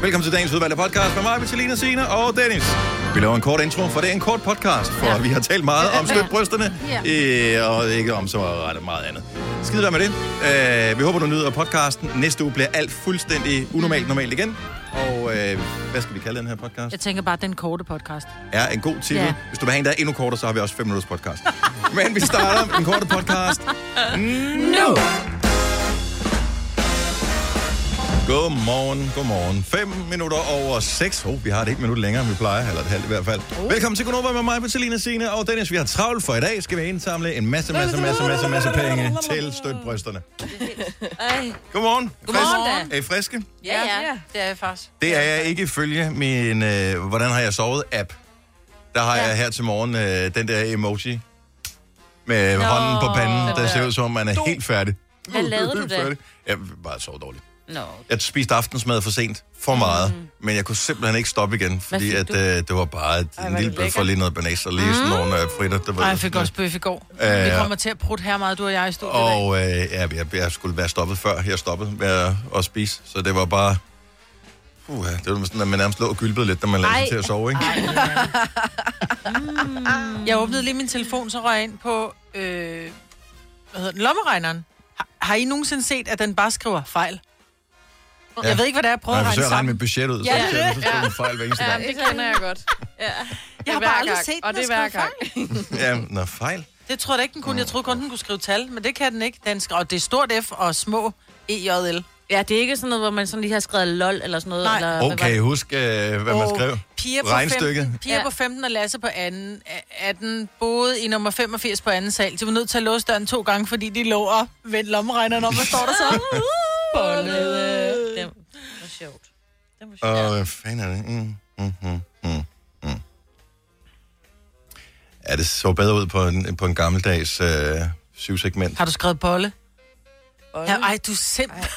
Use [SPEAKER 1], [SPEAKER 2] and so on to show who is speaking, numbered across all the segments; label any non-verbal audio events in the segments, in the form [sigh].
[SPEAKER 1] Velkommen til dagens udvalgte podcast med mig, Bettelina Signe og Dennis. Vi laver en kort intro, for det er en kort podcast, for ja. vi har talt meget om støt brysterne, ja. og ikke om så ret meget andet. Skide være med det. Øh, vi håber, du nyder podcasten. Næste uge bliver alt fuldstændig unormalt normalt igen. Og øh, hvad skal vi kalde den her podcast?
[SPEAKER 2] Jeg tænker bare, den korte podcast.
[SPEAKER 1] er en god titel. Ja.
[SPEAKER 2] Ja.
[SPEAKER 1] Hvis du vil have en, der er endnu kortere, så har vi også 5 minutters podcast. [laughs] Men vi starter med den korte podcast nu. Godmorgen, godmorgen. 5 minutter over 6. Oh, vi har et et minut længere, end vi plejer, eller et halvt i hvert fald. Oh. Velkommen til Konoba med mig, Bettelina Signe og Dennis. Vi har travlt for i dag. Skal vi indsamle en masse, masse, masse, masse, masse penge til støtbrysterne.
[SPEAKER 3] Ej.
[SPEAKER 1] Godmorgen.
[SPEAKER 3] Godmorgen
[SPEAKER 1] Frisk?
[SPEAKER 3] da.
[SPEAKER 1] Er I friske?
[SPEAKER 3] Ja, ja, det er jeg faktisk.
[SPEAKER 1] Det er jeg ikke ifølge min, øh, hvordan har jeg sovet app. Der har ja. jeg her til morgen øh, den der emoji med Nå,
[SPEAKER 4] Nå,
[SPEAKER 1] hånden på panden,
[SPEAKER 4] den
[SPEAKER 1] der ser
[SPEAKER 4] der.
[SPEAKER 1] ud som om, man er
[SPEAKER 4] Du.
[SPEAKER 1] helt færdig.
[SPEAKER 4] Hvad lavede du da?
[SPEAKER 1] Færdig. Jeg bare sov dårligt.
[SPEAKER 4] Nå.
[SPEAKER 1] Jeg spiste aftensmad for sent, for meget, mm. men jeg kunne simpelthen ikke stoppe igen, fordi
[SPEAKER 2] fik
[SPEAKER 1] at,
[SPEAKER 2] du?
[SPEAKER 1] øh, det var bare et, en lille bøf og lige noget banæs og lige mm. sådan nogle øh, fritter. Det var
[SPEAKER 2] Ej, jeg fik også bøf i går.
[SPEAKER 1] Ja,
[SPEAKER 2] Vi
[SPEAKER 1] ja.
[SPEAKER 2] kommer til at prutte her meget, du og jeg i studiet. i dag.
[SPEAKER 1] Og øh, ja, jeg, jeg skulle være stoppet før jeg stoppede med at, at spise, så det var bare... Uh, det var sådan, at man nærmest lå og gylpede lidt, da man lagde sig
[SPEAKER 2] Ej.
[SPEAKER 1] til at sove, ikke?
[SPEAKER 2] Jeg åbnede lige min telefon, så røg jeg ind på øh, hvad hedder den, lommeregneren. Har, har I nogensinde set, at den bare skriver fejl? Ja. Jeg ved ikke, hvad det er. Jeg prøver
[SPEAKER 1] Når
[SPEAKER 2] at
[SPEAKER 1] jeg
[SPEAKER 2] regne
[SPEAKER 1] forsøger at
[SPEAKER 2] sammen.
[SPEAKER 1] regne mit budget ud,
[SPEAKER 2] Ja,
[SPEAKER 1] så,
[SPEAKER 2] det
[SPEAKER 1] det,
[SPEAKER 2] er
[SPEAKER 1] så,
[SPEAKER 2] det.
[SPEAKER 1] så er det en fejl hver eneste
[SPEAKER 3] Ja,
[SPEAKER 1] gang.
[SPEAKER 3] det kender jeg godt. Ja.
[SPEAKER 2] Jeg har bare aldrig set den,
[SPEAKER 3] Og det er
[SPEAKER 2] der
[SPEAKER 3] hver
[SPEAKER 2] skriver
[SPEAKER 3] gang.
[SPEAKER 1] Ja, nå, fejl.
[SPEAKER 2] Det troede jeg da ikke, den kunne. Jeg troede kun, den kunne skrive tal, men det kan den ikke. Den skriver, det er stort F og små E EJL.
[SPEAKER 5] Ja, det er ikke sådan noget, hvor man sådan lige har skrevet lol eller sådan noget.
[SPEAKER 2] Nej.
[SPEAKER 5] Eller, hvad var
[SPEAKER 1] Okay,
[SPEAKER 5] det?
[SPEAKER 1] husk, øh, hvad man
[SPEAKER 2] Og
[SPEAKER 1] skrev.
[SPEAKER 2] Piger på
[SPEAKER 1] Regnstykket.
[SPEAKER 2] 15, piger
[SPEAKER 5] Ja.
[SPEAKER 2] på 15 og Lasse på anden, 18 boede i nummer 85 på anden sal. De var nødt til at låse døren to gange, fordi de lå og vendte lommeregneren om. Hvad står der [laughs] så?
[SPEAKER 5] Bollede. Det var sjovt. Det var sjovt.
[SPEAKER 1] Og hvad fanden er det? Mm, mm, mm, mm, mm. Ja, det så bedre ud på en, på en gammeldags øh, syvsegment.
[SPEAKER 2] Har du skrevet bolle? Ja, ej, du er simpelthen...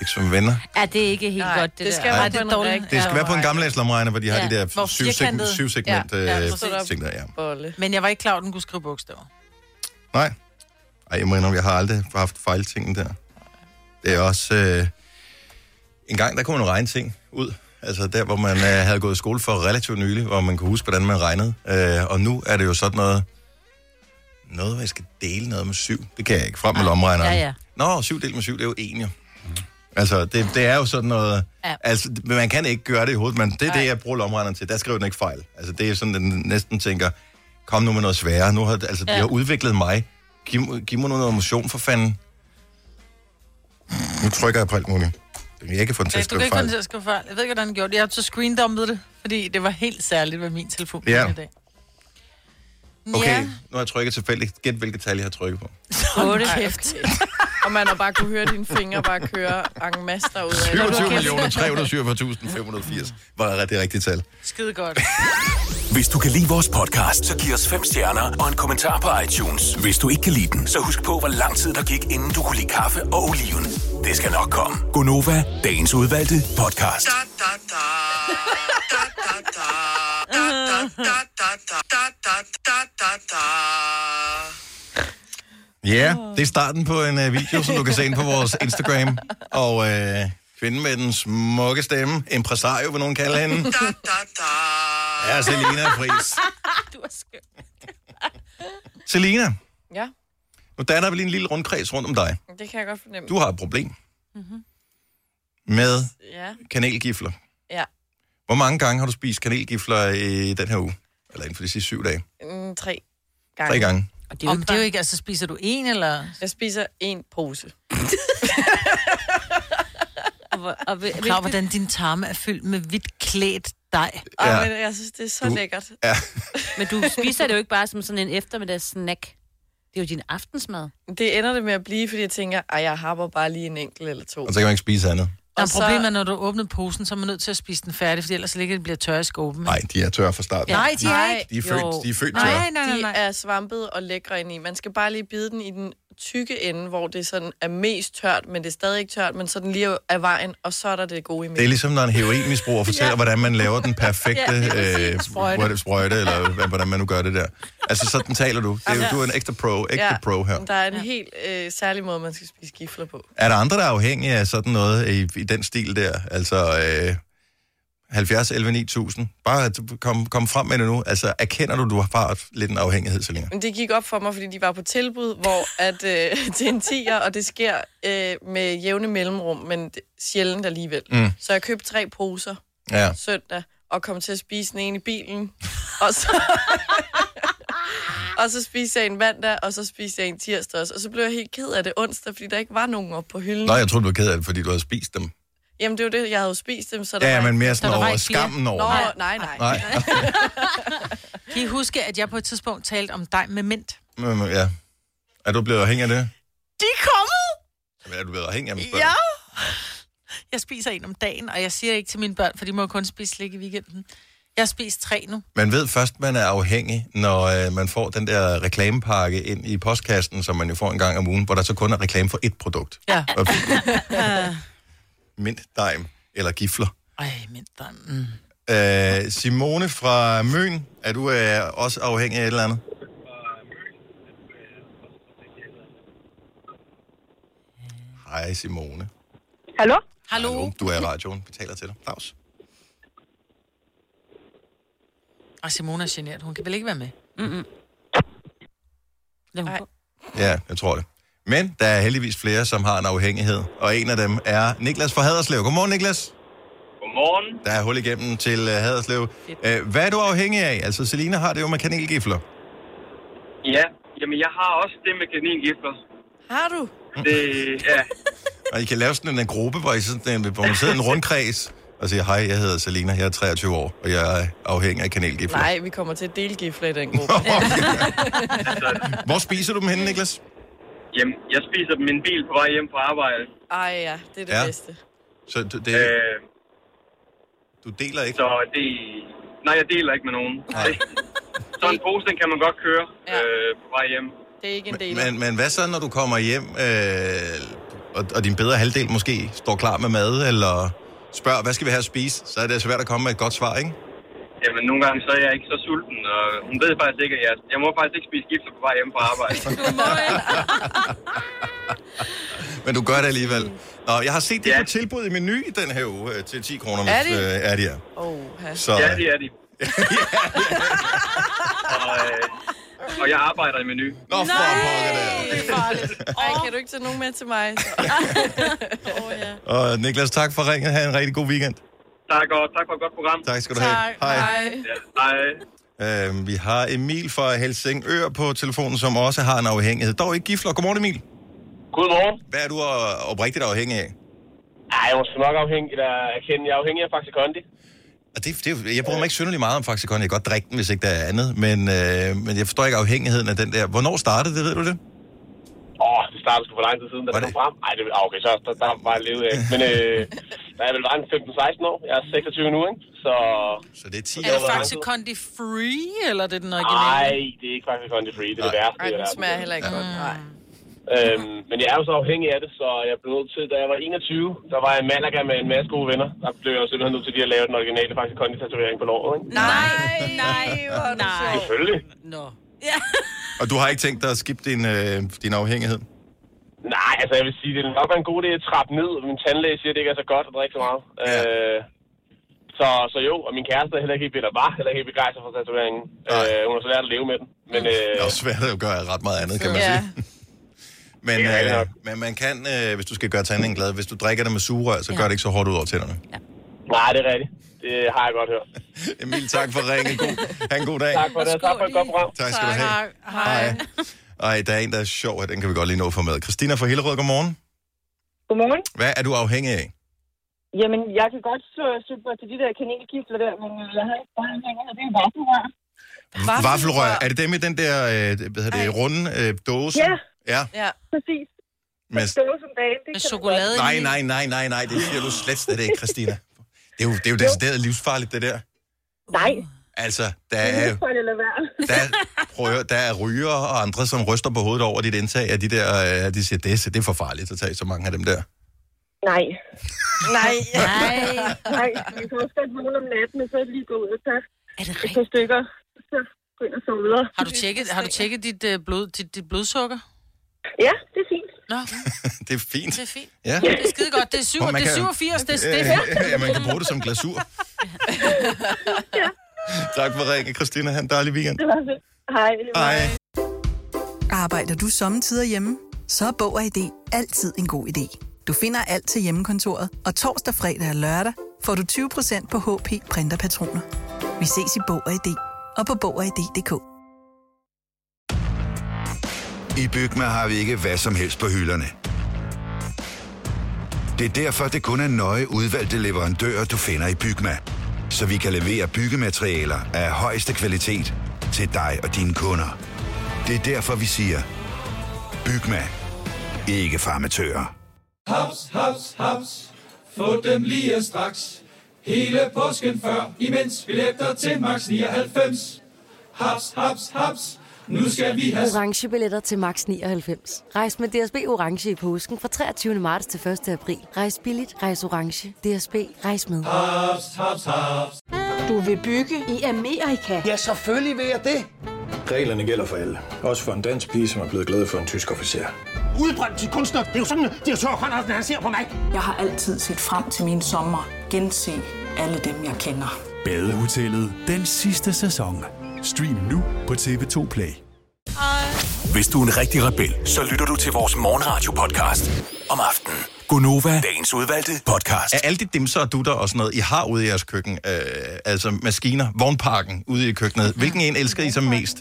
[SPEAKER 1] Ikke som venner.
[SPEAKER 5] Ja, det er ikke helt
[SPEAKER 3] Nej,
[SPEAKER 5] godt, det,
[SPEAKER 3] det
[SPEAKER 5] der.
[SPEAKER 3] skal
[SPEAKER 1] Ej,
[SPEAKER 3] være
[SPEAKER 2] det er
[SPEAKER 3] på en
[SPEAKER 2] dårligt.
[SPEAKER 3] rigtig
[SPEAKER 1] Det skal være på en gammeldags lomregner, hvor de har
[SPEAKER 5] Ja,
[SPEAKER 1] de der
[SPEAKER 2] hvor
[SPEAKER 1] syvsegment,
[SPEAKER 2] firkantede-
[SPEAKER 1] syvsegment
[SPEAKER 2] Ja, ja,
[SPEAKER 1] øh,
[SPEAKER 3] præcis.
[SPEAKER 1] ting der. Ja.
[SPEAKER 3] bolle.
[SPEAKER 2] Men jeg var ikke klar, over, at den kunne skrive bogstaver.
[SPEAKER 1] Nej. Ej, jeg må indrømme, jeg har aldrig haft fejltingen der. Det er også... Øh, en gang, der kunne man regne ting ud. Altså der, hvor man øh, havde gået i skole for relativt nylig, hvor man kunne huske, hvordan man regnede. Øh, og nu er det jo sådan noget... Noget, hvor jeg skal dele noget med syv. Det kan jeg ikke. Frem med lomregneren.
[SPEAKER 5] Ja, ja.
[SPEAKER 1] Nå, syv delt med syv, det er jo en, jo. Altså, det, det er jo sådan noget... Ja.
[SPEAKER 2] Ja.
[SPEAKER 1] Altså, men man kan ikke gøre det i hovedet, men det er det, jeg bruger lomregneren til. Der skriver den ikke fejl. Altså, det er sådan, den næsten tænker, kom nu med noget sværere. Nu har, altså, ja. de har udviklet mig. Giv, giv mig noget motion, for fanden. Nu trykker jeg på alt muligt. Jeg kan få den til
[SPEAKER 2] Ja,
[SPEAKER 1] at
[SPEAKER 2] du kan
[SPEAKER 1] skrive
[SPEAKER 2] ikke få den til
[SPEAKER 1] fejl.
[SPEAKER 2] at skrive fejl. Jeg ved ikke, hvordan den gjorde det. Jeg har så screendumpet det, fordi det var helt særligt med min telefon
[SPEAKER 1] Ja.
[SPEAKER 2] i dag.
[SPEAKER 1] Okay,
[SPEAKER 2] Ja.
[SPEAKER 1] nu har jeg trykket tilfældigt. Gæt, hvilket tal jeg har trykket på.
[SPEAKER 5] Otte.
[SPEAKER 3] Og man har bare kunne høre dine fingre bare køre en masse derud.
[SPEAKER 1] 27.347.580 var det rigtige tal.
[SPEAKER 2] Skide godt.
[SPEAKER 6] Hvis du kan lide vores podcast, så giv os fem stjerner og en kommentar på iTunes. Hvis du ikke kan lide den, så husk på, hvor lang tid der gik, inden du kunne lide kaffe og oliven. Det skal nok komme. Gonova, dagens udvalgte podcast.
[SPEAKER 1] Ja, det er starten på en øh, video, som du kan se ind på vores Instagram. Og øh, kvinden med den smukke stemme, impresario, vil nogen kalde hende. Ja, Selina Friis.
[SPEAKER 5] [laughs] Du er skøn.
[SPEAKER 1] Selina,
[SPEAKER 3] Ja,
[SPEAKER 1] nu danner vi lige en lille rundkreds rundt om dig.
[SPEAKER 3] det kan jeg godt fornemme.
[SPEAKER 1] Du har et problem.
[SPEAKER 2] Mhm.
[SPEAKER 1] Med
[SPEAKER 3] Ja,
[SPEAKER 1] kanelgifler.
[SPEAKER 3] ja.
[SPEAKER 1] Hvor mange gange har du spist kanelgifler i den her uge? Eller inden for de sidste syv dage?
[SPEAKER 3] Mm, tre gange.
[SPEAKER 1] Tre gange.
[SPEAKER 5] Og det er jo
[SPEAKER 2] Om
[SPEAKER 5] ikke
[SPEAKER 2] det er jo
[SPEAKER 5] bare...
[SPEAKER 2] ikke, altså spiser du en, eller...
[SPEAKER 3] Jeg spiser en pose.
[SPEAKER 5] Og, hvor- og, hvil-
[SPEAKER 2] Klar,
[SPEAKER 5] hvilket-
[SPEAKER 2] hvordan din tarme er fyldt med hvidt klædt dej.
[SPEAKER 3] Og
[SPEAKER 1] Ja.
[SPEAKER 3] men jeg synes, det er så
[SPEAKER 1] Du-
[SPEAKER 3] lækkert.
[SPEAKER 1] Ja.
[SPEAKER 5] Men du spiser det jo ikke bare som sådan en eftermiddagssnack. Det er jo din aftensmad.
[SPEAKER 3] Det ender det med at blive, fordi jeg tænker, at jeg happer bare lige en enkelt eller to.
[SPEAKER 1] Og så kan man ikke spise andet.
[SPEAKER 2] Der er
[SPEAKER 3] så-
[SPEAKER 2] problemet, er, når du åbner posen, så er man nødt til at spise den færdig, for ellers ligger det bliver tør i skåben.
[SPEAKER 1] Nej, de er tørre fra starten.
[SPEAKER 2] Nej, de er
[SPEAKER 3] Nej.
[SPEAKER 2] ikke.
[SPEAKER 1] De er født,
[SPEAKER 5] Jo.
[SPEAKER 1] de er født tørre.
[SPEAKER 2] Nej, nej, nej,
[SPEAKER 3] De
[SPEAKER 2] nej.
[SPEAKER 3] er svampede og lækre ind i. Man skal bare lige bide den i den tykke ende, hvor det sådan er mest tørt, men det er stadig ikke tørt, men sådan lige af vejen, og så er der det gode i
[SPEAKER 1] Det er
[SPEAKER 3] midten.
[SPEAKER 1] ligesom, når en heroinmisbruger fortæller, ja. hvordan man laver den perfekte
[SPEAKER 5] Ja,
[SPEAKER 1] ja,
[SPEAKER 5] præcis.
[SPEAKER 2] Sprøjte.
[SPEAKER 1] øh, sprøjte. sprøjte, eller hvad- hvordan man nu gør det der. Altså, sådan taler du. Det er, jo- Du er en ekstra pro, ekstra ja. pro her.
[SPEAKER 3] men der er en helt øh, særlig måde, man skal spise gifler på.
[SPEAKER 1] Er der andre, der er afhængige af sådan noget i, i den stil der? Altså, øh, 70, 11, 9000. Bare at du- kom, kom frem med det nu. Altså, erkender du, du har bare lidt en afhængighed så længe?
[SPEAKER 3] Men det gik op for mig, fordi de var på tilbud, hvor at, øh, [laughs] til en 10'er, og det sker øh, med jævne mellemrum, men det- sjældent alligevel. Mm. Så jeg købte tre poser
[SPEAKER 1] Ja.
[SPEAKER 3] søndag, og kom til at spise den ene i bilen, og
[SPEAKER 5] [laughs]
[SPEAKER 3] så... og så spiste jeg en mandag, og så spiste jeg en tirsdag også. Og så blev jeg helt ked af det onsdag, fordi der ikke var nogen oppe på hylden.
[SPEAKER 1] Nå, jeg troede, du var ked af det, fordi du havde spist dem.
[SPEAKER 3] Jamen, det var det, jeg havde jo spist dem, så der
[SPEAKER 1] Ja, ja
[SPEAKER 3] var
[SPEAKER 1] men mere
[SPEAKER 5] der
[SPEAKER 1] sådan
[SPEAKER 5] var
[SPEAKER 1] over
[SPEAKER 5] ikke flere.
[SPEAKER 1] skammen over.
[SPEAKER 3] Nå, nej,
[SPEAKER 1] Nej.
[SPEAKER 3] nej. nej.
[SPEAKER 1] Nej.
[SPEAKER 2] Kan I huske, at jeg på et tidspunkt talte om dig med mint?
[SPEAKER 1] [laughs] Men, men, ja. Er du blevet afhængig af det?
[SPEAKER 2] De er kommet!
[SPEAKER 1] Er du blevet afhængig af dem?
[SPEAKER 2] Ja! Jeg spiser en om dagen, og jeg siger det ikke til mine børn, for de må jo kun spise slik i weekenden. Jeg har spist tre nu.
[SPEAKER 1] Man ved først, man er afhængig, når øh, man får den der reklamepakke ind i postkassen, som man jo får en gang om ugen, hvor der så kun er reklame for ét produkt.
[SPEAKER 2] Ja.
[SPEAKER 1] Og- [laughs] Mint, dejm eller gifler.
[SPEAKER 2] Ej, mint. der- Mm.
[SPEAKER 1] Øh, Simone fra Møn, er du øh, også afhængig af et eller andet? Hej Simone.
[SPEAKER 4] Hallo?
[SPEAKER 2] Hallo? Hallo?
[SPEAKER 1] Du er i radioen. Vi taler til dig. Claus.
[SPEAKER 2] Og Simone er genert. Hun kan vel ikke være med?
[SPEAKER 5] Lad hun
[SPEAKER 3] Ej.
[SPEAKER 5] gå. [laughs]
[SPEAKER 1] Ja, jeg tror det. Men der er heldigvis flere, som har en afhængighed, og en af dem er Niklas fra Haderslev. Godmorgen, Niklas.
[SPEAKER 7] Godmorgen.
[SPEAKER 1] Der er hul igennem til uh, Haderslev. Uh, hvad er du afhængig af? Altså, Selina har det jo med kanelgifler.
[SPEAKER 7] Ja, jamen jeg har også det med kaningifler.
[SPEAKER 3] Har du?
[SPEAKER 1] [laughs]
[SPEAKER 7] Det, ja,
[SPEAKER 1] Og I kan lave sådan en gruppe, hvor, I sådan, en- hvor man sidder i en rundkreds og siger, hej, jeg hedder Selina, jeg er 23 år, og jeg er afhængig af kanelgifler. [laughs]
[SPEAKER 3] Nej, vi kommer til at dele gifler i den gruppe.
[SPEAKER 1] Hvor spiser du dem henne, Niklas?
[SPEAKER 7] jamen, jeg spiser dem i en bil på vej hjem fra arbejde.
[SPEAKER 3] Ej ja, det er det
[SPEAKER 1] Ja.
[SPEAKER 3] ja. bedste.
[SPEAKER 1] Så du, det,
[SPEAKER 7] Øh,
[SPEAKER 1] du deler ikke?
[SPEAKER 7] så det... Nej, jeg deler ikke med nogen.
[SPEAKER 1] Nej.
[SPEAKER 7] Så en pose, den kan man godt køre
[SPEAKER 3] Ja.
[SPEAKER 7] øh, på vej hjem.
[SPEAKER 3] Det er ikke en del.
[SPEAKER 1] Men, men hvad så, når du kommer hjem, øh, og, og din bedre halvdel måske står klar med mad, eller spørger, hvad skal vi have at spise? Så er det svært at komme med et godt svar, ikke?
[SPEAKER 7] Jamen, nogle gange så er jeg ikke så sulten, og hun ved faktisk ikke, at jeg... Jeg må faktisk ikke spise gifler på vej hjem fra
[SPEAKER 1] [laughs]
[SPEAKER 7] arbejde.
[SPEAKER 1] Men du gør det alligevel. Nå, jeg har set det
[SPEAKER 7] Ja.
[SPEAKER 1] på tilbud i menu i den her uge øh, til 10 kroner, hvis
[SPEAKER 3] Er
[SPEAKER 1] øh,
[SPEAKER 3] det?
[SPEAKER 1] er det er.
[SPEAKER 3] Oh,
[SPEAKER 1] Så,
[SPEAKER 7] Ja, det
[SPEAKER 1] [laughs]
[SPEAKER 7] er de. og, øh, og jeg arbejder i menu.
[SPEAKER 1] Nå, for pokker der.
[SPEAKER 3] [laughs] Ej, kan du ikke tage nogen med til
[SPEAKER 1] [laughs]
[SPEAKER 3] mig? oh, ja.
[SPEAKER 1] Og Niklas, tak for ringet. Ha' en rigtig god weekend.
[SPEAKER 7] Tak, og tak for et godt program.
[SPEAKER 1] Tak skal du have.
[SPEAKER 3] Hej.
[SPEAKER 7] Ja, hej.
[SPEAKER 1] Øhm, vi har Emil fra Helsingør på telefonen, som også har en afhængighed. Dog ikke gifler. Godmorgen, Emil.
[SPEAKER 7] Godmorgen.
[SPEAKER 1] Hvad er du øh, oprigtigt afhængig af?
[SPEAKER 7] Ej, jeg var sgu nok afhængig af at kende. Jeg er afhængig af Faxe Kondi.
[SPEAKER 1] Og det, det, er jo- jeg bruger mig ikke synderlig meget om Faxikon. Jeg kan godt drikke den, hvis ikke der er andet. Men, øh, men jeg forstår ikke afhængigheden af den der. Hvornår startede det, ved du det?
[SPEAKER 7] Åh, det startede sgu for lang tid siden, da
[SPEAKER 1] Var
[SPEAKER 7] det
[SPEAKER 1] det-
[SPEAKER 7] kom frem. Ej, det, ah, okay, så der, der var jeg levet af. Men
[SPEAKER 1] [laughs]
[SPEAKER 7] øh, da jeg vel var en 15-16 år, jeg er 26 nu, ikke? Så
[SPEAKER 1] Så det er 10
[SPEAKER 2] Er det
[SPEAKER 1] år.
[SPEAKER 2] faktisk Condi Free, eller er det den
[SPEAKER 7] nej,
[SPEAKER 2] originale?
[SPEAKER 7] det er ikke Faxe Kondi Free. Det er det
[SPEAKER 1] Nej.
[SPEAKER 7] værste.
[SPEAKER 3] Ej,
[SPEAKER 7] i
[SPEAKER 3] den
[SPEAKER 7] verden.
[SPEAKER 3] smager heller ikke godt.
[SPEAKER 1] Mm.
[SPEAKER 3] Nej.
[SPEAKER 7] Øhm, men jeg er jo så afhængig af det, så jeg blev nødt til, da jeg var 21, der var jeg i Malaga med en masse gode venner. Der blev jeg jo simpelthen nødt til lige at lave den originale Faxe Kondi-tatovering på låret, ikke?
[SPEAKER 5] Nej, nej, nej.
[SPEAKER 7] Selvfølgelig.
[SPEAKER 5] Nå.
[SPEAKER 1] Og du har ikke tænkt dig at skifte din, øh, din afhængighed?
[SPEAKER 7] Nej, altså jeg vil sige, det er nok være en god idé at trappe ned. Min tandlæge siger, at det ikke er så godt at drikke så meget.
[SPEAKER 1] Ja.
[SPEAKER 7] Ja. Øh, så, så jo, og min kæreste er heller ikke helt, eller var heller ikke helt begejstret for tatoveringen.
[SPEAKER 1] Nej.
[SPEAKER 7] Øh, hun har så lært at leve med den. Men øh,
[SPEAKER 1] Det er også svært at gøre ret meget andet, kan man
[SPEAKER 3] Ja.
[SPEAKER 1] sige. Men,
[SPEAKER 7] Det er rigtigt
[SPEAKER 1] øh,
[SPEAKER 7] nok.
[SPEAKER 1] men man kan, øh, hvis du skal gøre tanden glad, hvis du drikker det med sugerør, så gør det ikke så hårdt ud over tænderne.
[SPEAKER 7] nej, det er rigtigt. Det har jeg godt hørt.
[SPEAKER 1] Emil, tak for ringen. God, ha' en god dag.
[SPEAKER 7] Tak for det, og tak for et godt program.
[SPEAKER 1] tak skal du have.
[SPEAKER 2] Hej.
[SPEAKER 1] Ej, der er en, der er sjov, og den kan vi godt lige nå for med. Christina fra Hillerød, godmorgen.
[SPEAKER 4] Godmorgen.
[SPEAKER 1] Hvad er du afhængig af?
[SPEAKER 4] Jamen, jeg kan godt slå super til de der kanelkifler der, men øh, jeg har ikke bare anhænger, det er bare her.
[SPEAKER 1] Vaffelrør. Vaffelrør. Er det dem i den der øh, hvad hedder det, runde øh, dåse?
[SPEAKER 4] Ja.
[SPEAKER 1] Ja,
[SPEAKER 3] Ja.
[SPEAKER 4] Præcis.
[SPEAKER 1] med...
[SPEAKER 4] Stå som dagen, det
[SPEAKER 2] Med
[SPEAKER 4] kan
[SPEAKER 2] chokolade i.
[SPEAKER 1] Nej, nej, nej, nej, nej, det siger du slet slet ikke, Christina. Det er jo, det er jo decideret livsfarligt, det der.
[SPEAKER 4] Nej,
[SPEAKER 1] Altså, der er,
[SPEAKER 4] For det lade være.
[SPEAKER 1] der, prøver, der er ryger og andre, som ryster på hovedet over dit indtag af de der, øh, de siger, det, er- det er for farligt at tage så mange af dem der. [laughs]
[SPEAKER 4] Nej,
[SPEAKER 3] Nej.
[SPEAKER 5] Nej,
[SPEAKER 4] nej. Vi kan også godt vågne om natten, og så lige gå ud og tage
[SPEAKER 5] er det
[SPEAKER 4] et par
[SPEAKER 5] rigtigt?
[SPEAKER 4] stykker. Så gå ind og sove videre.
[SPEAKER 2] Har du tjekket, har du tjekket dit, øh, blod, dit, dit blodsukker?
[SPEAKER 4] Ja, det er fint.
[SPEAKER 2] Nå,
[SPEAKER 1] Det er fint.
[SPEAKER 2] det er fint.
[SPEAKER 1] Ja.
[SPEAKER 2] Det er skide godt. Det er, syv,
[SPEAKER 1] Hvor man
[SPEAKER 2] det er
[SPEAKER 1] kan-
[SPEAKER 2] 87, det, er- det er
[SPEAKER 1] Øh,
[SPEAKER 2] fedt.
[SPEAKER 1] [laughs] ja, man kan bruge det som glasur. tak for ringen, Christina. Ha' en dejlig weekend.
[SPEAKER 4] Det var fedt. Hej. det var-
[SPEAKER 1] Hej.
[SPEAKER 8] Arbejder du sommetider hjemme? Så er Bog og ID altid en god idé. Du finder alt til hjemmekontoret, og torsdag, fredag og lørdag får du 20% på HP Printerpatroner. Vi ses i Bog og ID og på Bog og ID.dk.
[SPEAKER 9] I Bygma har vi ikke hvad som helst på hylderne. Det er derfor, det kun er nøje udvalgte leverandører, du finder i Bygma. Så vi kan levere byggematerialer af højeste kvalitet til dig og dine kunder. Det er derfor, vi siger, Bygma. Ikke farmatører.
[SPEAKER 10] Haps, haps, haps. Få dem lige straks. Hele påsken før, imens billetter til max
[SPEAKER 4] [laughs]
[SPEAKER 10] 99. Haps, haps, haps. Nu skal vi have
[SPEAKER 11] [laughs] Orange billetter til max 99. Rejs med DSB Orange i påsken fra 23. marts til 1. april. Rejs billigt, rejs orange. DSB, rejs med.
[SPEAKER 10] haps, haps, haps.
[SPEAKER 11] Du vil bygge i Amerika?
[SPEAKER 10] Ja, selvfølgelig vil jeg det. Reglerne gælder for alle. Også for en dansk pige, som er blevet glad for en tysk officer.
[SPEAKER 7] Udbrændt til kunstner. Det er jo sådan, at de har tørt, han ser på mig.
[SPEAKER 4] Jeg har altid set frem til min sommer. Gense alle dem, jeg kender.
[SPEAKER 6] Badehotellet den sidste sæson. Stream nu på TV2 Play. Hvis du er en rigtig rebel, så lytter du til vores morgenradio-podcast om aftenen. Gunova, dagens udvalgte podcast.
[SPEAKER 1] Af alle de dimser og dutter og sådan noget, I har ude i jeres køkken, øh, altså maskiner, vognparken ude i køkkenet, hvilken en elsker I som mest?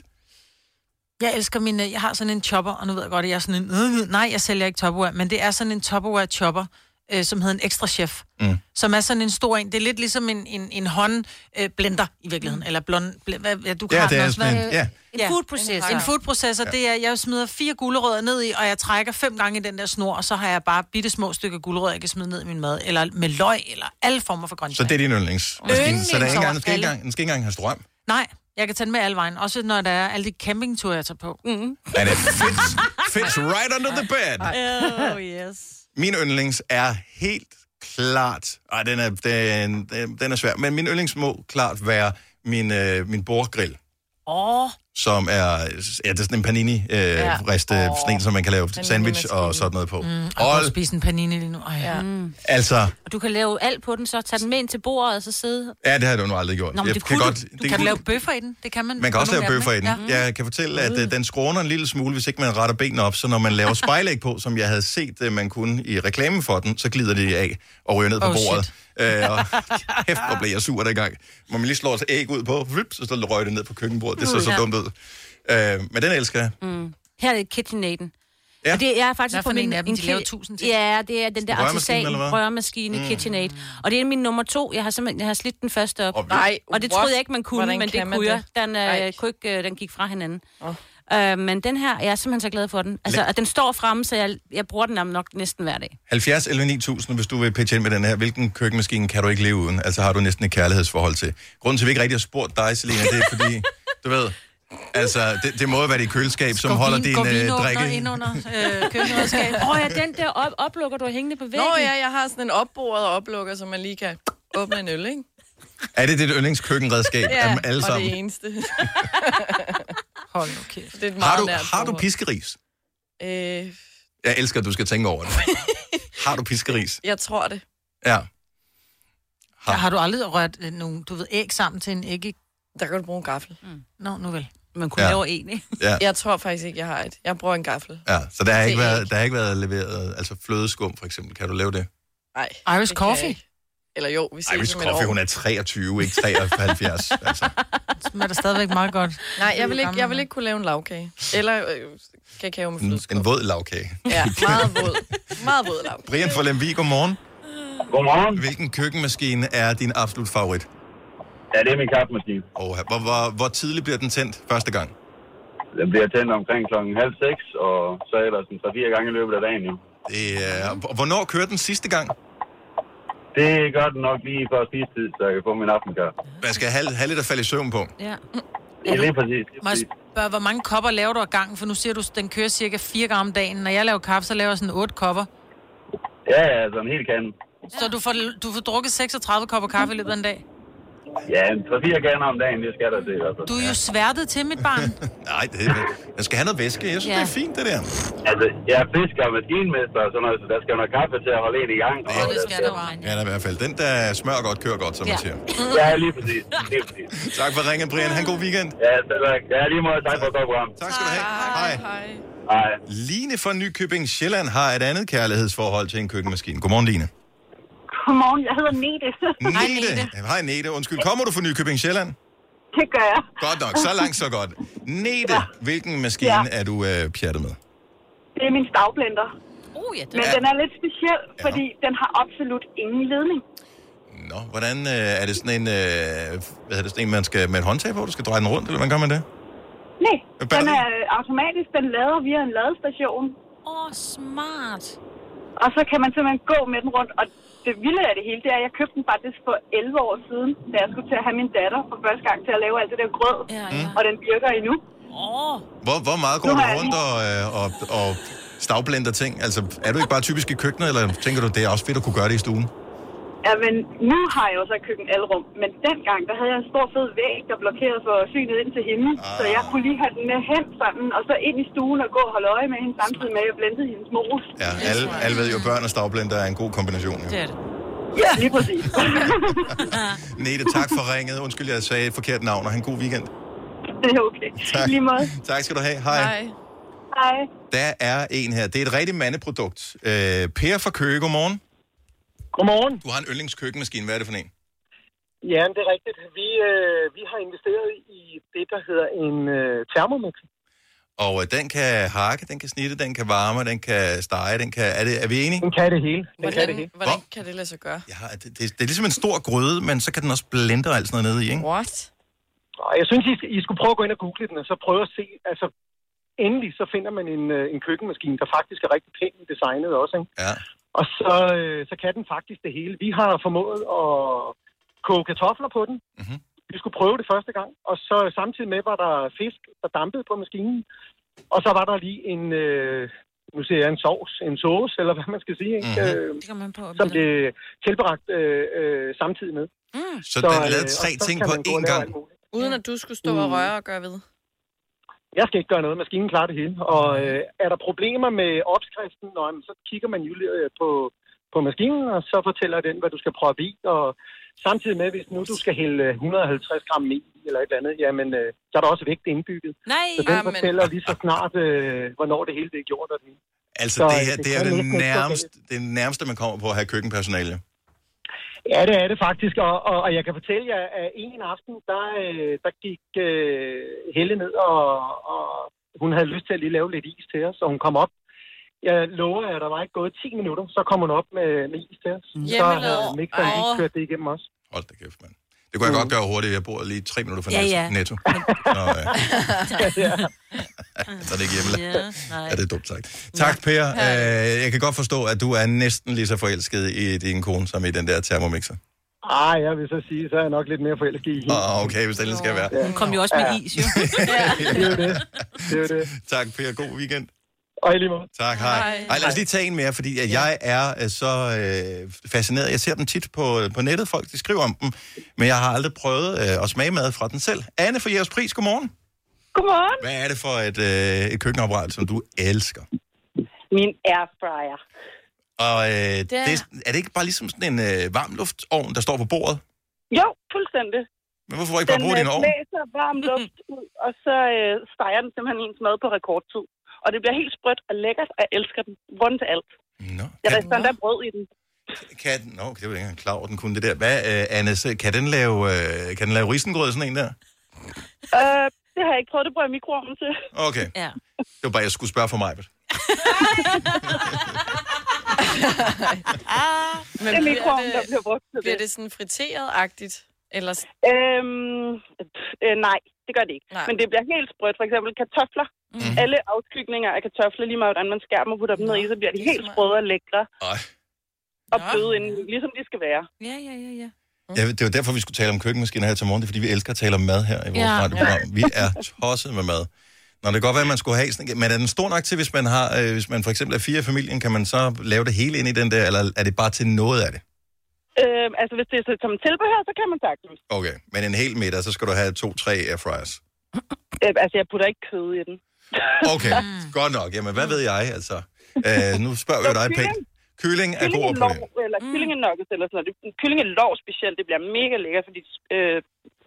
[SPEAKER 2] Jeg elsker min... øh, Jeg har sådan en chopper, og nu ved jeg godt, at jeg er sådan en... øh, øh, Nej, jeg sælger ikke Tupperware, men det er sådan en Tupperware chopper, øh, som hedder en ekstra chef, mm. som er sådan en stor en. Det er lidt ligesom en, en, en håndblender øh, blender, i virkeligheden, eller blond... Bl- hvad, ja, du kan
[SPEAKER 1] Ja,
[SPEAKER 2] have
[SPEAKER 1] det
[SPEAKER 2] den
[SPEAKER 1] er
[SPEAKER 2] også.
[SPEAKER 1] sådan en, ja.
[SPEAKER 5] En
[SPEAKER 2] Ja.
[SPEAKER 5] foodprocessor.
[SPEAKER 2] En foodprocessor, ja. det er, jeg smider fire gulerødder ned i, og jeg trækker fem gange i den der snor, og så har jeg bare bitte små stykker gulerødder, jeg kan smide ned i min mad, eller med løg, eller alle former for
[SPEAKER 1] Så
[SPEAKER 2] grøntsager.
[SPEAKER 1] det er din yndlingsmaskine. Så der er ikke engang, den skal ikke
[SPEAKER 2] Yndlings
[SPEAKER 1] engang, den skal ikke engang have strøm.
[SPEAKER 2] Nej, jeg kan tage den med alle vejen, også når der er alle de campingture, jeg tager på.
[SPEAKER 1] [laughs]
[SPEAKER 2] Mm.
[SPEAKER 1] Den er fits, fits right under the bed.
[SPEAKER 5] Oh, yes.
[SPEAKER 1] Min yndlings er helt klart... Ej, den er, den, den- den er svær. Men min yndlings må klart være min, øh, min bordgrill,
[SPEAKER 2] Åh,
[SPEAKER 1] som er, ja, det er sådan en panini-riste, øh, ja. sådan en, som man kan lave sandwich og sådan noget på. Mm,
[SPEAKER 2] oh,
[SPEAKER 1] og,
[SPEAKER 2] spise en panini lige nu. Ej, ja.
[SPEAKER 1] altså,
[SPEAKER 5] Og du kan lave alt på den, så tag den med ind til bordet, og så sidde...
[SPEAKER 1] ja, det har du nu aldrig gjort.
[SPEAKER 5] Nå, men
[SPEAKER 1] Jeg
[SPEAKER 5] det kunne du. Du
[SPEAKER 2] Kan du lave bøffer i den? Det kan man.
[SPEAKER 1] Man kan
[SPEAKER 2] på
[SPEAKER 1] også lave
[SPEAKER 2] nogle af
[SPEAKER 1] bøffer i
[SPEAKER 2] dem, Mm.
[SPEAKER 1] den.
[SPEAKER 2] ikke?
[SPEAKER 1] Jeg kan fortælle, at øh, den skråner en lille smule, hvis ikke man retter benene op. Så når man
[SPEAKER 2] [laughs]
[SPEAKER 1] laver spejlæg på, som jeg havde set, øh, man kunne i reklamen for den, så glider de af og ryger ned på
[SPEAKER 2] Oh,
[SPEAKER 1] bordet.
[SPEAKER 2] [laughs]
[SPEAKER 1] Øh, og kæft, hvor blev jeg sur dengang. Må man lige slår et æg ud på, vip, så står- røg det ned på køkkenbordet.
[SPEAKER 2] Mm.
[SPEAKER 1] Det så så
[SPEAKER 5] Ja.
[SPEAKER 1] dumt ud. Øh, men den elsker jeg.
[SPEAKER 5] Her er det KitchenAiden.
[SPEAKER 1] Ja.
[SPEAKER 5] Ja. Og det er faktisk
[SPEAKER 2] Hvad for
[SPEAKER 5] på
[SPEAKER 2] en
[SPEAKER 5] min...
[SPEAKER 2] af dem? De
[SPEAKER 5] ki-
[SPEAKER 2] laver tusind til.
[SPEAKER 5] Ja, det er den der
[SPEAKER 1] Rørmaskine,
[SPEAKER 5] artisan
[SPEAKER 1] eller hvad?
[SPEAKER 5] rørmaskine mm. KitchenAid. Og det er min nummer to. Jeg har simpelthen jeg har slidt den første op.
[SPEAKER 1] Og-
[SPEAKER 3] Nej,
[SPEAKER 5] Og det
[SPEAKER 3] what?
[SPEAKER 5] troede jeg ikke, man kunne,
[SPEAKER 3] Hvordan
[SPEAKER 5] Hvordan men det
[SPEAKER 3] kan man
[SPEAKER 5] kunne jeg. Den,
[SPEAKER 3] Ej.
[SPEAKER 5] øh, kunne ikke, øh, den gik fra hinanden. Oh. Øh, men den her, jeg er simpelthen så glad for den. Altså, at den står fremme, så jeg, jeg bruger den nok næsten hver dag.
[SPEAKER 1] 70 11 9000, hvis du vil pitche ind med den her. Hvilken køkkenmaskine kan du ikke leve uden? Altså har du næsten et kærlighedsforhold til. Grunden til, at vi ikke rigtig har spurgt dig, Selina, det er fordi, du ved... Altså, det, det må jo være dit
[SPEAKER 2] [laughs]
[SPEAKER 1] køleskab, som
[SPEAKER 2] Går
[SPEAKER 1] holder
[SPEAKER 2] vin-
[SPEAKER 1] din
[SPEAKER 2] går
[SPEAKER 1] øh,
[SPEAKER 2] vinåbner
[SPEAKER 1] drikke...
[SPEAKER 2] ind under [laughs] øh, køkkenredskab.
[SPEAKER 5] Åh oh, ja, den der op- oplukker, du har hængende på væggen.
[SPEAKER 3] Nå ja, jeg har sådan en opboret oplukker, som man lige kan åbne en øl, ikke?
[SPEAKER 1] Er det dit yndlingskøkkenredskab ja, af dem alle
[SPEAKER 3] og
[SPEAKER 1] sammen?
[SPEAKER 3] det eneste.
[SPEAKER 2] [laughs] Hold nu kæft.
[SPEAKER 3] Det er et meget
[SPEAKER 1] Har du,
[SPEAKER 3] nært
[SPEAKER 1] har du
[SPEAKER 3] forhold.
[SPEAKER 1] piskeris?
[SPEAKER 3] Øh,
[SPEAKER 1] Jeg elsker, at du skal tænke
[SPEAKER 3] [laughs]
[SPEAKER 1] over det. har du piskeris?
[SPEAKER 3] jeg tror det.
[SPEAKER 1] Ja.
[SPEAKER 2] Har,
[SPEAKER 1] Ah.
[SPEAKER 2] har du aldrig rørt øh, nogle, du ved, æg sammen til en æg?
[SPEAKER 3] Der kan du bruge en gaffel.
[SPEAKER 2] Mm. Nå, nu vel.
[SPEAKER 5] Man kunne
[SPEAKER 1] Ja.
[SPEAKER 5] ja. lave en, ikke?
[SPEAKER 3] Jeg tror faktisk ikke, jeg har et. Jeg bruger en gaffel.
[SPEAKER 1] ja. Så der har, ikke
[SPEAKER 3] Det er
[SPEAKER 1] været,
[SPEAKER 3] ikke.
[SPEAKER 1] der har ikke været leveret altså flødeskum, for eksempel. Kan du lave det?
[SPEAKER 3] Nej.
[SPEAKER 2] Irish
[SPEAKER 3] det kan jeg
[SPEAKER 2] coffee?
[SPEAKER 3] ikke. Eller jo, vi ses
[SPEAKER 1] Ej, hvis
[SPEAKER 3] om et
[SPEAKER 1] Coffee,
[SPEAKER 3] år.
[SPEAKER 1] hun er 23, ikke
[SPEAKER 3] [laughs]
[SPEAKER 1] 73. altså.
[SPEAKER 2] Det smager da stadigvæk meget godt.
[SPEAKER 3] Nej, jeg vil, ikke, jeg vil ikke kunne lave en lavkage. Eller øh, kakao med
[SPEAKER 1] en,
[SPEAKER 3] flødeskum.
[SPEAKER 1] en våd lavkage. [laughs]
[SPEAKER 3] Ja, meget våd. Meget våd lavkage.
[SPEAKER 1] Brian fra Lemvig, godmorgen.
[SPEAKER 7] Godmorgen.
[SPEAKER 1] Hvilken køkkenmaskine er din absolut favorit?
[SPEAKER 7] Ja, det er min kaffemaskine.
[SPEAKER 1] Og hvor, hvor, hvor tidligt bliver den tændt første gang?
[SPEAKER 7] Den bliver tændt omkring klokken halv seks, og så ellers en 3-4 gange i løbet af dagen jo.
[SPEAKER 1] Det, er- og hvornår kørte den sidste gang?
[SPEAKER 12] Det gør den nok lige for sidste tid, så jeg kan få min aftenkaffe.
[SPEAKER 1] Man skal have, have lidt at falde i søvn på.
[SPEAKER 2] Ja.
[SPEAKER 12] Ja, lige præcis. Lige
[SPEAKER 2] Må jeg
[SPEAKER 12] præcis.
[SPEAKER 2] spørge, hvor mange kopper laver du ad gangen? For nu siger du, den kører cirka fire gange om dagen. Når jeg laver kaffe, så laver jeg sådan otte kopper.
[SPEAKER 12] Ja, ja, altså en hel kande.
[SPEAKER 2] Så du får, du får drukket 36 kopper kaffe i løbet af en dag.
[SPEAKER 12] Ja, en 3-4 kander om dagen, det skal der til i hvert fald.
[SPEAKER 2] Du er jo sværtet til, mit
[SPEAKER 1] [laughs]
[SPEAKER 2] barn.
[SPEAKER 1] Nej, det, man skal have noget væske. Jeg synes,
[SPEAKER 2] Ja.
[SPEAKER 1] ja. det er fint, det der.
[SPEAKER 12] Altså, jeg er fisker og maskinmester og sådan noget, så der skal jo noget kaffe til at holde en i gang. Ja, det skal der bare.
[SPEAKER 1] Ja, der er i hvert fald. Den, der smører godt, kører godt, som
[SPEAKER 12] Ja.
[SPEAKER 1] man siger.
[SPEAKER 12] Ja, lige præcis. Lige præcis.
[SPEAKER 1] Tak for ringen, Brian. Han god weekend.
[SPEAKER 12] Ja, selv tak. Ja, lige måde. Tak for et godt program.
[SPEAKER 1] Tak skal du have. Hej.
[SPEAKER 3] Hej.
[SPEAKER 12] Hej.
[SPEAKER 1] Line fra Nykøbing Sjælland har et andet kærlighedsforhold til en køkkenmaskine. Godmorgen, Line.
[SPEAKER 13] Godmorgen, jeg hedder Nete.
[SPEAKER 1] Ja, Hej, Nete. Undskyld, kommer du fra Nykøbing Sjælland?
[SPEAKER 13] Det gør jeg.
[SPEAKER 1] Godt nok, så langt, så godt. Nete, ja. hvilken maskine ja.
[SPEAKER 13] Ja.
[SPEAKER 1] er du øh, pjattet med?
[SPEAKER 13] Det er min stavblender.
[SPEAKER 5] Oh, ja,
[SPEAKER 13] Men den er lidt speciel, fordi den har absolut ingen ledning.
[SPEAKER 1] Nå, hvordan øh, er det sådan en, øh, hvad er det sådan en, man skal med et håndtag på? Du skal dreje den rundt, eller hvordan gør man det?
[SPEAKER 13] Nej,
[SPEAKER 1] Hvad
[SPEAKER 13] den er automatisk. Den lader via en ladestation.
[SPEAKER 5] Åh, oh, smart.
[SPEAKER 13] Og så kan man simpelthen gå med den rundt. Og det vilde af det hele, det er, at jeg købte den faktisk for 11 år siden, da jeg skulle til at have min datter for første gang til at lave alt det der grød.
[SPEAKER 5] Ja,
[SPEAKER 1] ja.
[SPEAKER 13] Og den virker endnu.
[SPEAKER 5] Åh.
[SPEAKER 1] Hvor, hvor meget går
[SPEAKER 13] Nu
[SPEAKER 1] du
[SPEAKER 13] har jeg
[SPEAKER 1] rundt og, øh, og, og stavblender ting? Altså, er du ikke bare typisk i køkkenet, eller tænker du, det er også fedt at kunne gøre det i stuen?
[SPEAKER 13] Ja, men nu har jeg jo så køkken alrum. Men dengang, der havde jeg en stor fed væg, der blokerede for synet ind til hende.
[SPEAKER 1] Ah.
[SPEAKER 13] Så jeg kunne lige have den med hen sådan, og så ind i stuen og gå og holde øje med hende, samtidig med, at jeg blændede hendes mos.
[SPEAKER 1] Ja, alle, alle ved jo, børn og stavblender er en god kombination. Jo.
[SPEAKER 13] Det er det. Ja, lige præcis.
[SPEAKER 1] Nete, tak for ringet. Undskyld, jeg sagde et forkert navn, og han god weekend.
[SPEAKER 13] det er okay.
[SPEAKER 1] Tak.
[SPEAKER 13] Lige måde.
[SPEAKER 1] Tak skal du have. Hej.
[SPEAKER 13] Hej.
[SPEAKER 1] Der er en her. Det er et rigtigt mandeprodukt. Øh, per fra Køge, godmorgen.
[SPEAKER 14] Godmorgen.
[SPEAKER 1] Du har en yndlingskøkkenmaskine. Hvad er det for en?
[SPEAKER 14] Ja, men det er rigtigt. Vi, øh, vi har investeret i det, der hedder en øh, termomix.
[SPEAKER 1] Og øh, den kan hakke, den kan snitte, den kan varme, den kan stege, den kan... Er, det, er vi enige?
[SPEAKER 14] Den kan det hele. Den
[SPEAKER 3] Hvordan,
[SPEAKER 1] kan det hele.
[SPEAKER 3] hvordan kan det lade sig gøre?
[SPEAKER 1] Ja, det, det, det er ligesom en stor gryde, men så kan den også blende og alt sådan noget ned i, ikke?
[SPEAKER 3] What?
[SPEAKER 14] Og jeg synes, I, skal- I skulle prøve at gå ind og google den, og så prøve at se, altså endelig så finder man en, øh, en køkkenmaskine, der faktisk er rigtig pænt designet også, ikke?
[SPEAKER 1] Ja.
[SPEAKER 14] Og så, øh, så kan den faktisk det hele. Vi har formået at koge kartofler på den.
[SPEAKER 1] Mm-hmm.
[SPEAKER 14] Vi skulle prøve det første gang, og så samtidig med var der fisk, der dampede på maskinen. Og så var der lige en, øh, nu siger jeg en sovs, en sauce, eller hvad man skal sige, ikke?
[SPEAKER 1] Mhm.
[SPEAKER 14] Øh,
[SPEAKER 2] Det kan man på.
[SPEAKER 14] som blev tilberagt øh, øh, samtidig med.
[SPEAKER 2] Mm.
[SPEAKER 1] Så den lavede tre
[SPEAKER 14] og så
[SPEAKER 1] ting
[SPEAKER 14] kan
[SPEAKER 1] på
[SPEAKER 14] man gå og
[SPEAKER 1] én
[SPEAKER 14] lave
[SPEAKER 1] gang?
[SPEAKER 14] alt muligt.
[SPEAKER 3] Uden at du skulle stå og
[SPEAKER 14] Mm.
[SPEAKER 3] røre og gøre ved.
[SPEAKER 14] Jeg skal ikke gøre noget, maskinen klarer det hele. Og øh, er der problemer med opskriften, nå, jamen, så kigger man jo lige, øh, på, på maskinen, og så fortæller den, hvad du skal proppe i. Og samtidig med, hvis nu du skal hælde øh, 150 gram mel i eller et eller andet, jamen, øh, så er der også vægt indbygget.
[SPEAKER 3] Nej,
[SPEAKER 14] så den
[SPEAKER 3] jamen.
[SPEAKER 14] fortæller lige så snart, øh, hvornår det hele det er gjort. Og det. hele.
[SPEAKER 1] Altså,
[SPEAKER 14] Så,
[SPEAKER 1] det
[SPEAKER 14] øh,
[SPEAKER 1] her
[SPEAKER 14] det
[SPEAKER 1] det er
[SPEAKER 14] kan
[SPEAKER 1] det
[SPEAKER 14] næsten ikke gå
[SPEAKER 1] nærmeste, det nærmeste, man kommer på at have køkkenpersonale.
[SPEAKER 14] Ja, det er det faktisk, og, og, og jeg kan fortælle jer, at en aften, der, øh, der gik øh, Helle ned, og, og hun havde lyst til at lige lave lidt is til os, og hun kom op. Jeg lover jer, at der var ikke gået 10 minutter, så kom hun op med, med is til os. Så havde
[SPEAKER 1] Hjemmelavet.
[SPEAKER 14] mixeren
[SPEAKER 1] Åh.
[SPEAKER 14] lige kørt det igennem os.
[SPEAKER 1] Hold da kæft, mand. Det kunne jeg godt gøre hurtigt. Jeg bor lige tre minutter fra
[SPEAKER 14] Ja,
[SPEAKER 1] Netto.
[SPEAKER 14] ja. [laughs]
[SPEAKER 1] netto. Nå, ja. [laughs] Så er det ikke hjemme.
[SPEAKER 14] Ja, nej.
[SPEAKER 1] Ja, det er dumt sagt. Tak, Per. Øh, jeg kan godt forstå, at du er næsten lige så forelsket i din kone, som i den der termomixer.
[SPEAKER 14] Ej, jeg vil så sige, så er jeg nok lidt mere forelsket i hende.
[SPEAKER 1] Ah, okay, hvis det ellers skal være.
[SPEAKER 5] Hun kom jo også med
[SPEAKER 14] Ja.
[SPEAKER 5] [laughs] is, jo.
[SPEAKER 14] Det er jo det. Det er jo det.
[SPEAKER 1] [laughs] Tak, Per. God weekend.
[SPEAKER 14] Og i lige måde.
[SPEAKER 1] Tak, hej.
[SPEAKER 14] Hej.
[SPEAKER 1] hej. lad os lige tage en mere, fordi at jeg er øh, så øh, fascineret. Jeg ser dem tit på, på nettet, folk de skriver om dem, men jeg har aldrig prøvet øh, at smage mad fra den selv. Anne for jeres pris, godmorgen.
[SPEAKER 15] Godmorgen.
[SPEAKER 1] Hvad er det for et, øh, et køkkenapparat, som du elsker?
[SPEAKER 15] Min airfryer.
[SPEAKER 1] Og øh, det
[SPEAKER 15] er-
[SPEAKER 1] er, er det ikke bare ligesom sådan en øh, varmluftovn, der står på bordet?
[SPEAKER 15] Jo, fuldstændig.
[SPEAKER 1] Men hvorfor får du ikke bare
[SPEAKER 15] den
[SPEAKER 1] bruge din
[SPEAKER 15] øh,
[SPEAKER 1] ovn?
[SPEAKER 15] blæser
[SPEAKER 1] [laughs]
[SPEAKER 15] varm luft ud, og så øh, steger den simpelthen ens mad på rekordtid. Og det bliver helt sprødt og lækkert, og jeg elsker den. Rundt til alt.
[SPEAKER 1] Nå,
[SPEAKER 15] Jeg rister endda brød i den.
[SPEAKER 1] kan den... Nå, det var jeg ikke engang klar over, den kunne det der. Hvad, øh, Anne, så kan den lave, øh, kan den lave risengrød, sådan en der?
[SPEAKER 15] Øh, det har jeg ikke prøvet, det bruger jeg mikroovnen til.
[SPEAKER 1] Okay.
[SPEAKER 15] Ja.
[SPEAKER 1] Det var bare, jeg skulle spørge for mig.
[SPEAKER 15] Det er mikroovnen, der bliver brugt til
[SPEAKER 3] Bliver det
[SPEAKER 15] det.
[SPEAKER 3] sådan friteret-agtigt? Eller...
[SPEAKER 15] Øhm, pff, øh, nej, det gør det ikke. Nej. Men det bliver helt sprødt. For eksempel kartofler.
[SPEAKER 1] Mhm.
[SPEAKER 15] Mm. Alle afskygninger af kartofler, lige meget hvordan man skærer dem og putter dem ned i, så bliver de helt sprøde og lækre. og bløde inden, ligesom de skal være.
[SPEAKER 2] Ja, ja, ja, ja.
[SPEAKER 1] Ja, det var derfor, vi skulle tale om køkkenmaskiner her til morgen. Det er, fordi vi elsker at tale om mad her i vores ja.
[SPEAKER 2] Ja.
[SPEAKER 1] radioprogram. Vi er tosset med mad. Nå, det kan godt være, at man skulle have sådan en- Men er den stor nok til, hvis man, har, øh, hvis man for eksempel er fire i familien, kan man så lave det hele ind i den der, eller er det bare til noget af det?
[SPEAKER 15] Øh, altså, hvis det er så- som tilbehør, så kan man sagtens.
[SPEAKER 1] Okay, men en hel middag, så skal du have to-tre airfryers.
[SPEAKER 15] Øh, altså, jeg putter ikke kød i den.
[SPEAKER 1] Okay, godt nok. Jamen, hvad ved jeg, altså? Øh, nu spørger vi jo dig pænt. Kylling er god på det.
[SPEAKER 15] Kyllingelov, eller kyllingenuggets, eller sådan noget. Det- Kyllingelov specielt, det bliver mega lækkert, fordi, øh,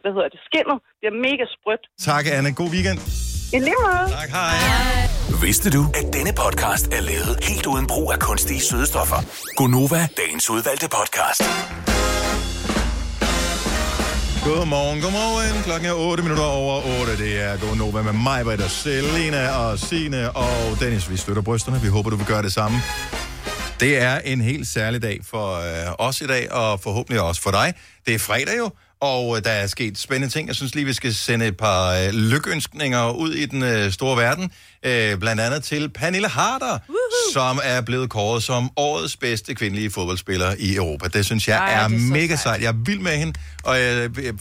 [SPEAKER 15] hvad hedder det, skinnet bliver mega sprødt.
[SPEAKER 1] Tak, Anne. God weekend.
[SPEAKER 15] I lige måde.
[SPEAKER 1] Tak, hej.
[SPEAKER 6] Vidste du, at denne podcast er lavet helt uden brug af kunstige sødestoffer? Gonova, dagens udvalgte podcast.
[SPEAKER 1] Godmorgen, godmorgen. Klokken er 8 minutter over 8. Det er Gonova med mig, Britt og Selina og Sine og Dennis. Vi støtter brysterne. Vi håber, du vil gøre det samme. Det er en helt særlig dag for øh, os i dag, og forhåbentlig også for dig. Det er fredag jo, og øh, der er sket spændende ting. Jeg synes lige, vi skal sende et par øh, lykønskninger ud i den øh, store verden. Øh, blandt andet til Pernille Harder, Woohoo! som er blevet kåret som årets bedste kvindelige fodboldspiller i Europa. Det synes jeg Ej, er, er mega sejt. Jeg er vild med hende, og jeg, jeg, jeg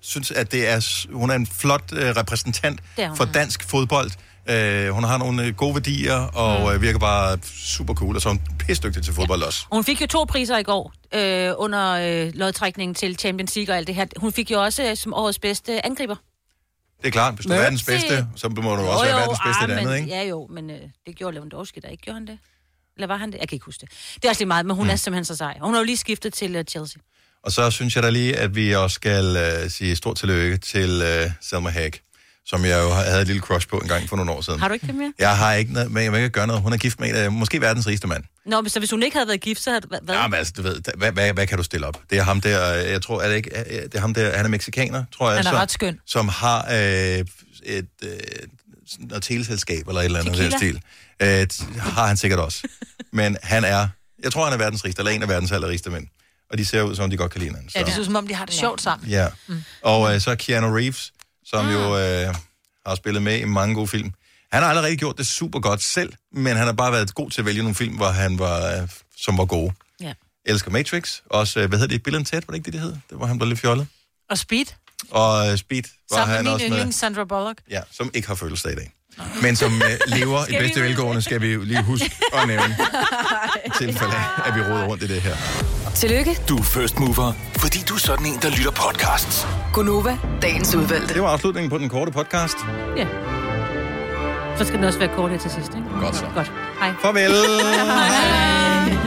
[SPEAKER 1] synes, at det er, s- hun er en flot øh, repræsentant
[SPEAKER 6] Det er hun.
[SPEAKER 1] for dansk fodbold. Øh, hun har nogle øh, gode værdier,
[SPEAKER 5] Mm.
[SPEAKER 1] og øh, virker bare super cool, og så er hun pisdygtig til fodbold ja. også.
[SPEAKER 5] Hun fik jo to priser i går øh, under øh, lodtrækningen til Champions League og alt det her. Hun fik jo også øh, som årets bedste angriber.
[SPEAKER 1] Det er klart, hvis du er
[SPEAKER 5] Nå,
[SPEAKER 1] verdens
[SPEAKER 5] se.
[SPEAKER 1] bedste, så må du også være verdens bedste i det
[SPEAKER 5] ah,
[SPEAKER 1] andet,
[SPEAKER 5] men,
[SPEAKER 1] ikke?
[SPEAKER 5] Ja jo, men øh, det gjorde Lewandowski der ikke, gjorde han det? Eller var han det? Jeg kan ikke huske det. Det er også lige meget, men hun mm. er simpelthen så sej. Og Hun har jo lige skiftet til øh, Chelsea.
[SPEAKER 1] Og så synes jeg da lige, at vi også skal øh, sige stort tillykke til øh, Selma Haag, som jeg jo havde et lille crush på en gang for nogle år siden.
[SPEAKER 5] Har du ikke det mere?
[SPEAKER 1] Jeg har ikke noget, men jeg vil ikke gøre noget. Hun er gift med en af, måske verdens rigeste mand.
[SPEAKER 5] Nå, men så hvis hun ikke havde været gift, så havde det været...
[SPEAKER 1] Ja, men altså, du ved, da- hvad, hvad, hvad kan du stille op? Det er ham der, øh, jeg tror, er det ikke, er- er- det er ham der, han er mexikaner, tror jeg.
[SPEAKER 2] Han er
[SPEAKER 1] som-
[SPEAKER 2] ret skøn.
[SPEAKER 1] Som har øh, et, øh, sådan noget teleselskab eller et eller andet i den
[SPEAKER 2] Tequila.
[SPEAKER 1] stil. Øh, t- har han sikkert også. Men han er, jeg tror, han er verdens rigeste, eller en af verdens allerrigeste mænd. Og de ser ud, som om de godt kan lide hinanden.
[SPEAKER 2] Ja, det ser ud som om, de har det sjovt sammen.
[SPEAKER 1] Ja. Mm. Og øh, så Keanu Reeves, som mm. jo
[SPEAKER 2] Ah.
[SPEAKER 1] øh, har spillet med i mange gode film. Han har allerede gjort det super godt selv, men han har bare været god til at vælge nogle film, hvor han var, øh, som var gode.
[SPEAKER 5] Ja.
[SPEAKER 1] Elsker Matrix. Også, øh, hvad hedder det? Bill Ted, var det ikke det, det hed? Det var han blev lidt fjollet.
[SPEAKER 2] Og Speed,
[SPEAKER 1] Og øh, Speed var
[SPEAKER 2] sammen
[SPEAKER 1] han
[SPEAKER 2] med min
[SPEAKER 1] også
[SPEAKER 2] yndling Sandra Bullock.
[SPEAKER 1] Ja, som ikke har følelser i dag. Men
[SPEAKER 2] [laughs]
[SPEAKER 1] som øh, lever i
[SPEAKER 2] Skal vi
[SPEAKER 1] bedste
[SPEAKER 2] nu-
[SPEAKER 1] velgående, skal vi jo lige huske at
[SPEAKER 2] [laughs]
[SPEAKER 1] nævne i tilfælde, af, at vi roder rundt i det her.
[SPEAKER 11] Tillykke.
[SPEAKER 6] Du er first mover, fordi du er sådan en, der lytter podcasts.
[SPEAKER 11] Gunova, dagens udvalgte.
[SPEAKER 1] Det var afslutningen på den korte podcast.
[SPEAKER 5] Ja. Så skal den også være kort her til sidst, ikke?
[SPEAKER 1] Godt så.
[SPEAKER 2] [laughs]
[SPEAKER 5] Godt. Hej.
[SPEAKER 1] Farvel.
[SPEAKER 5] Hej.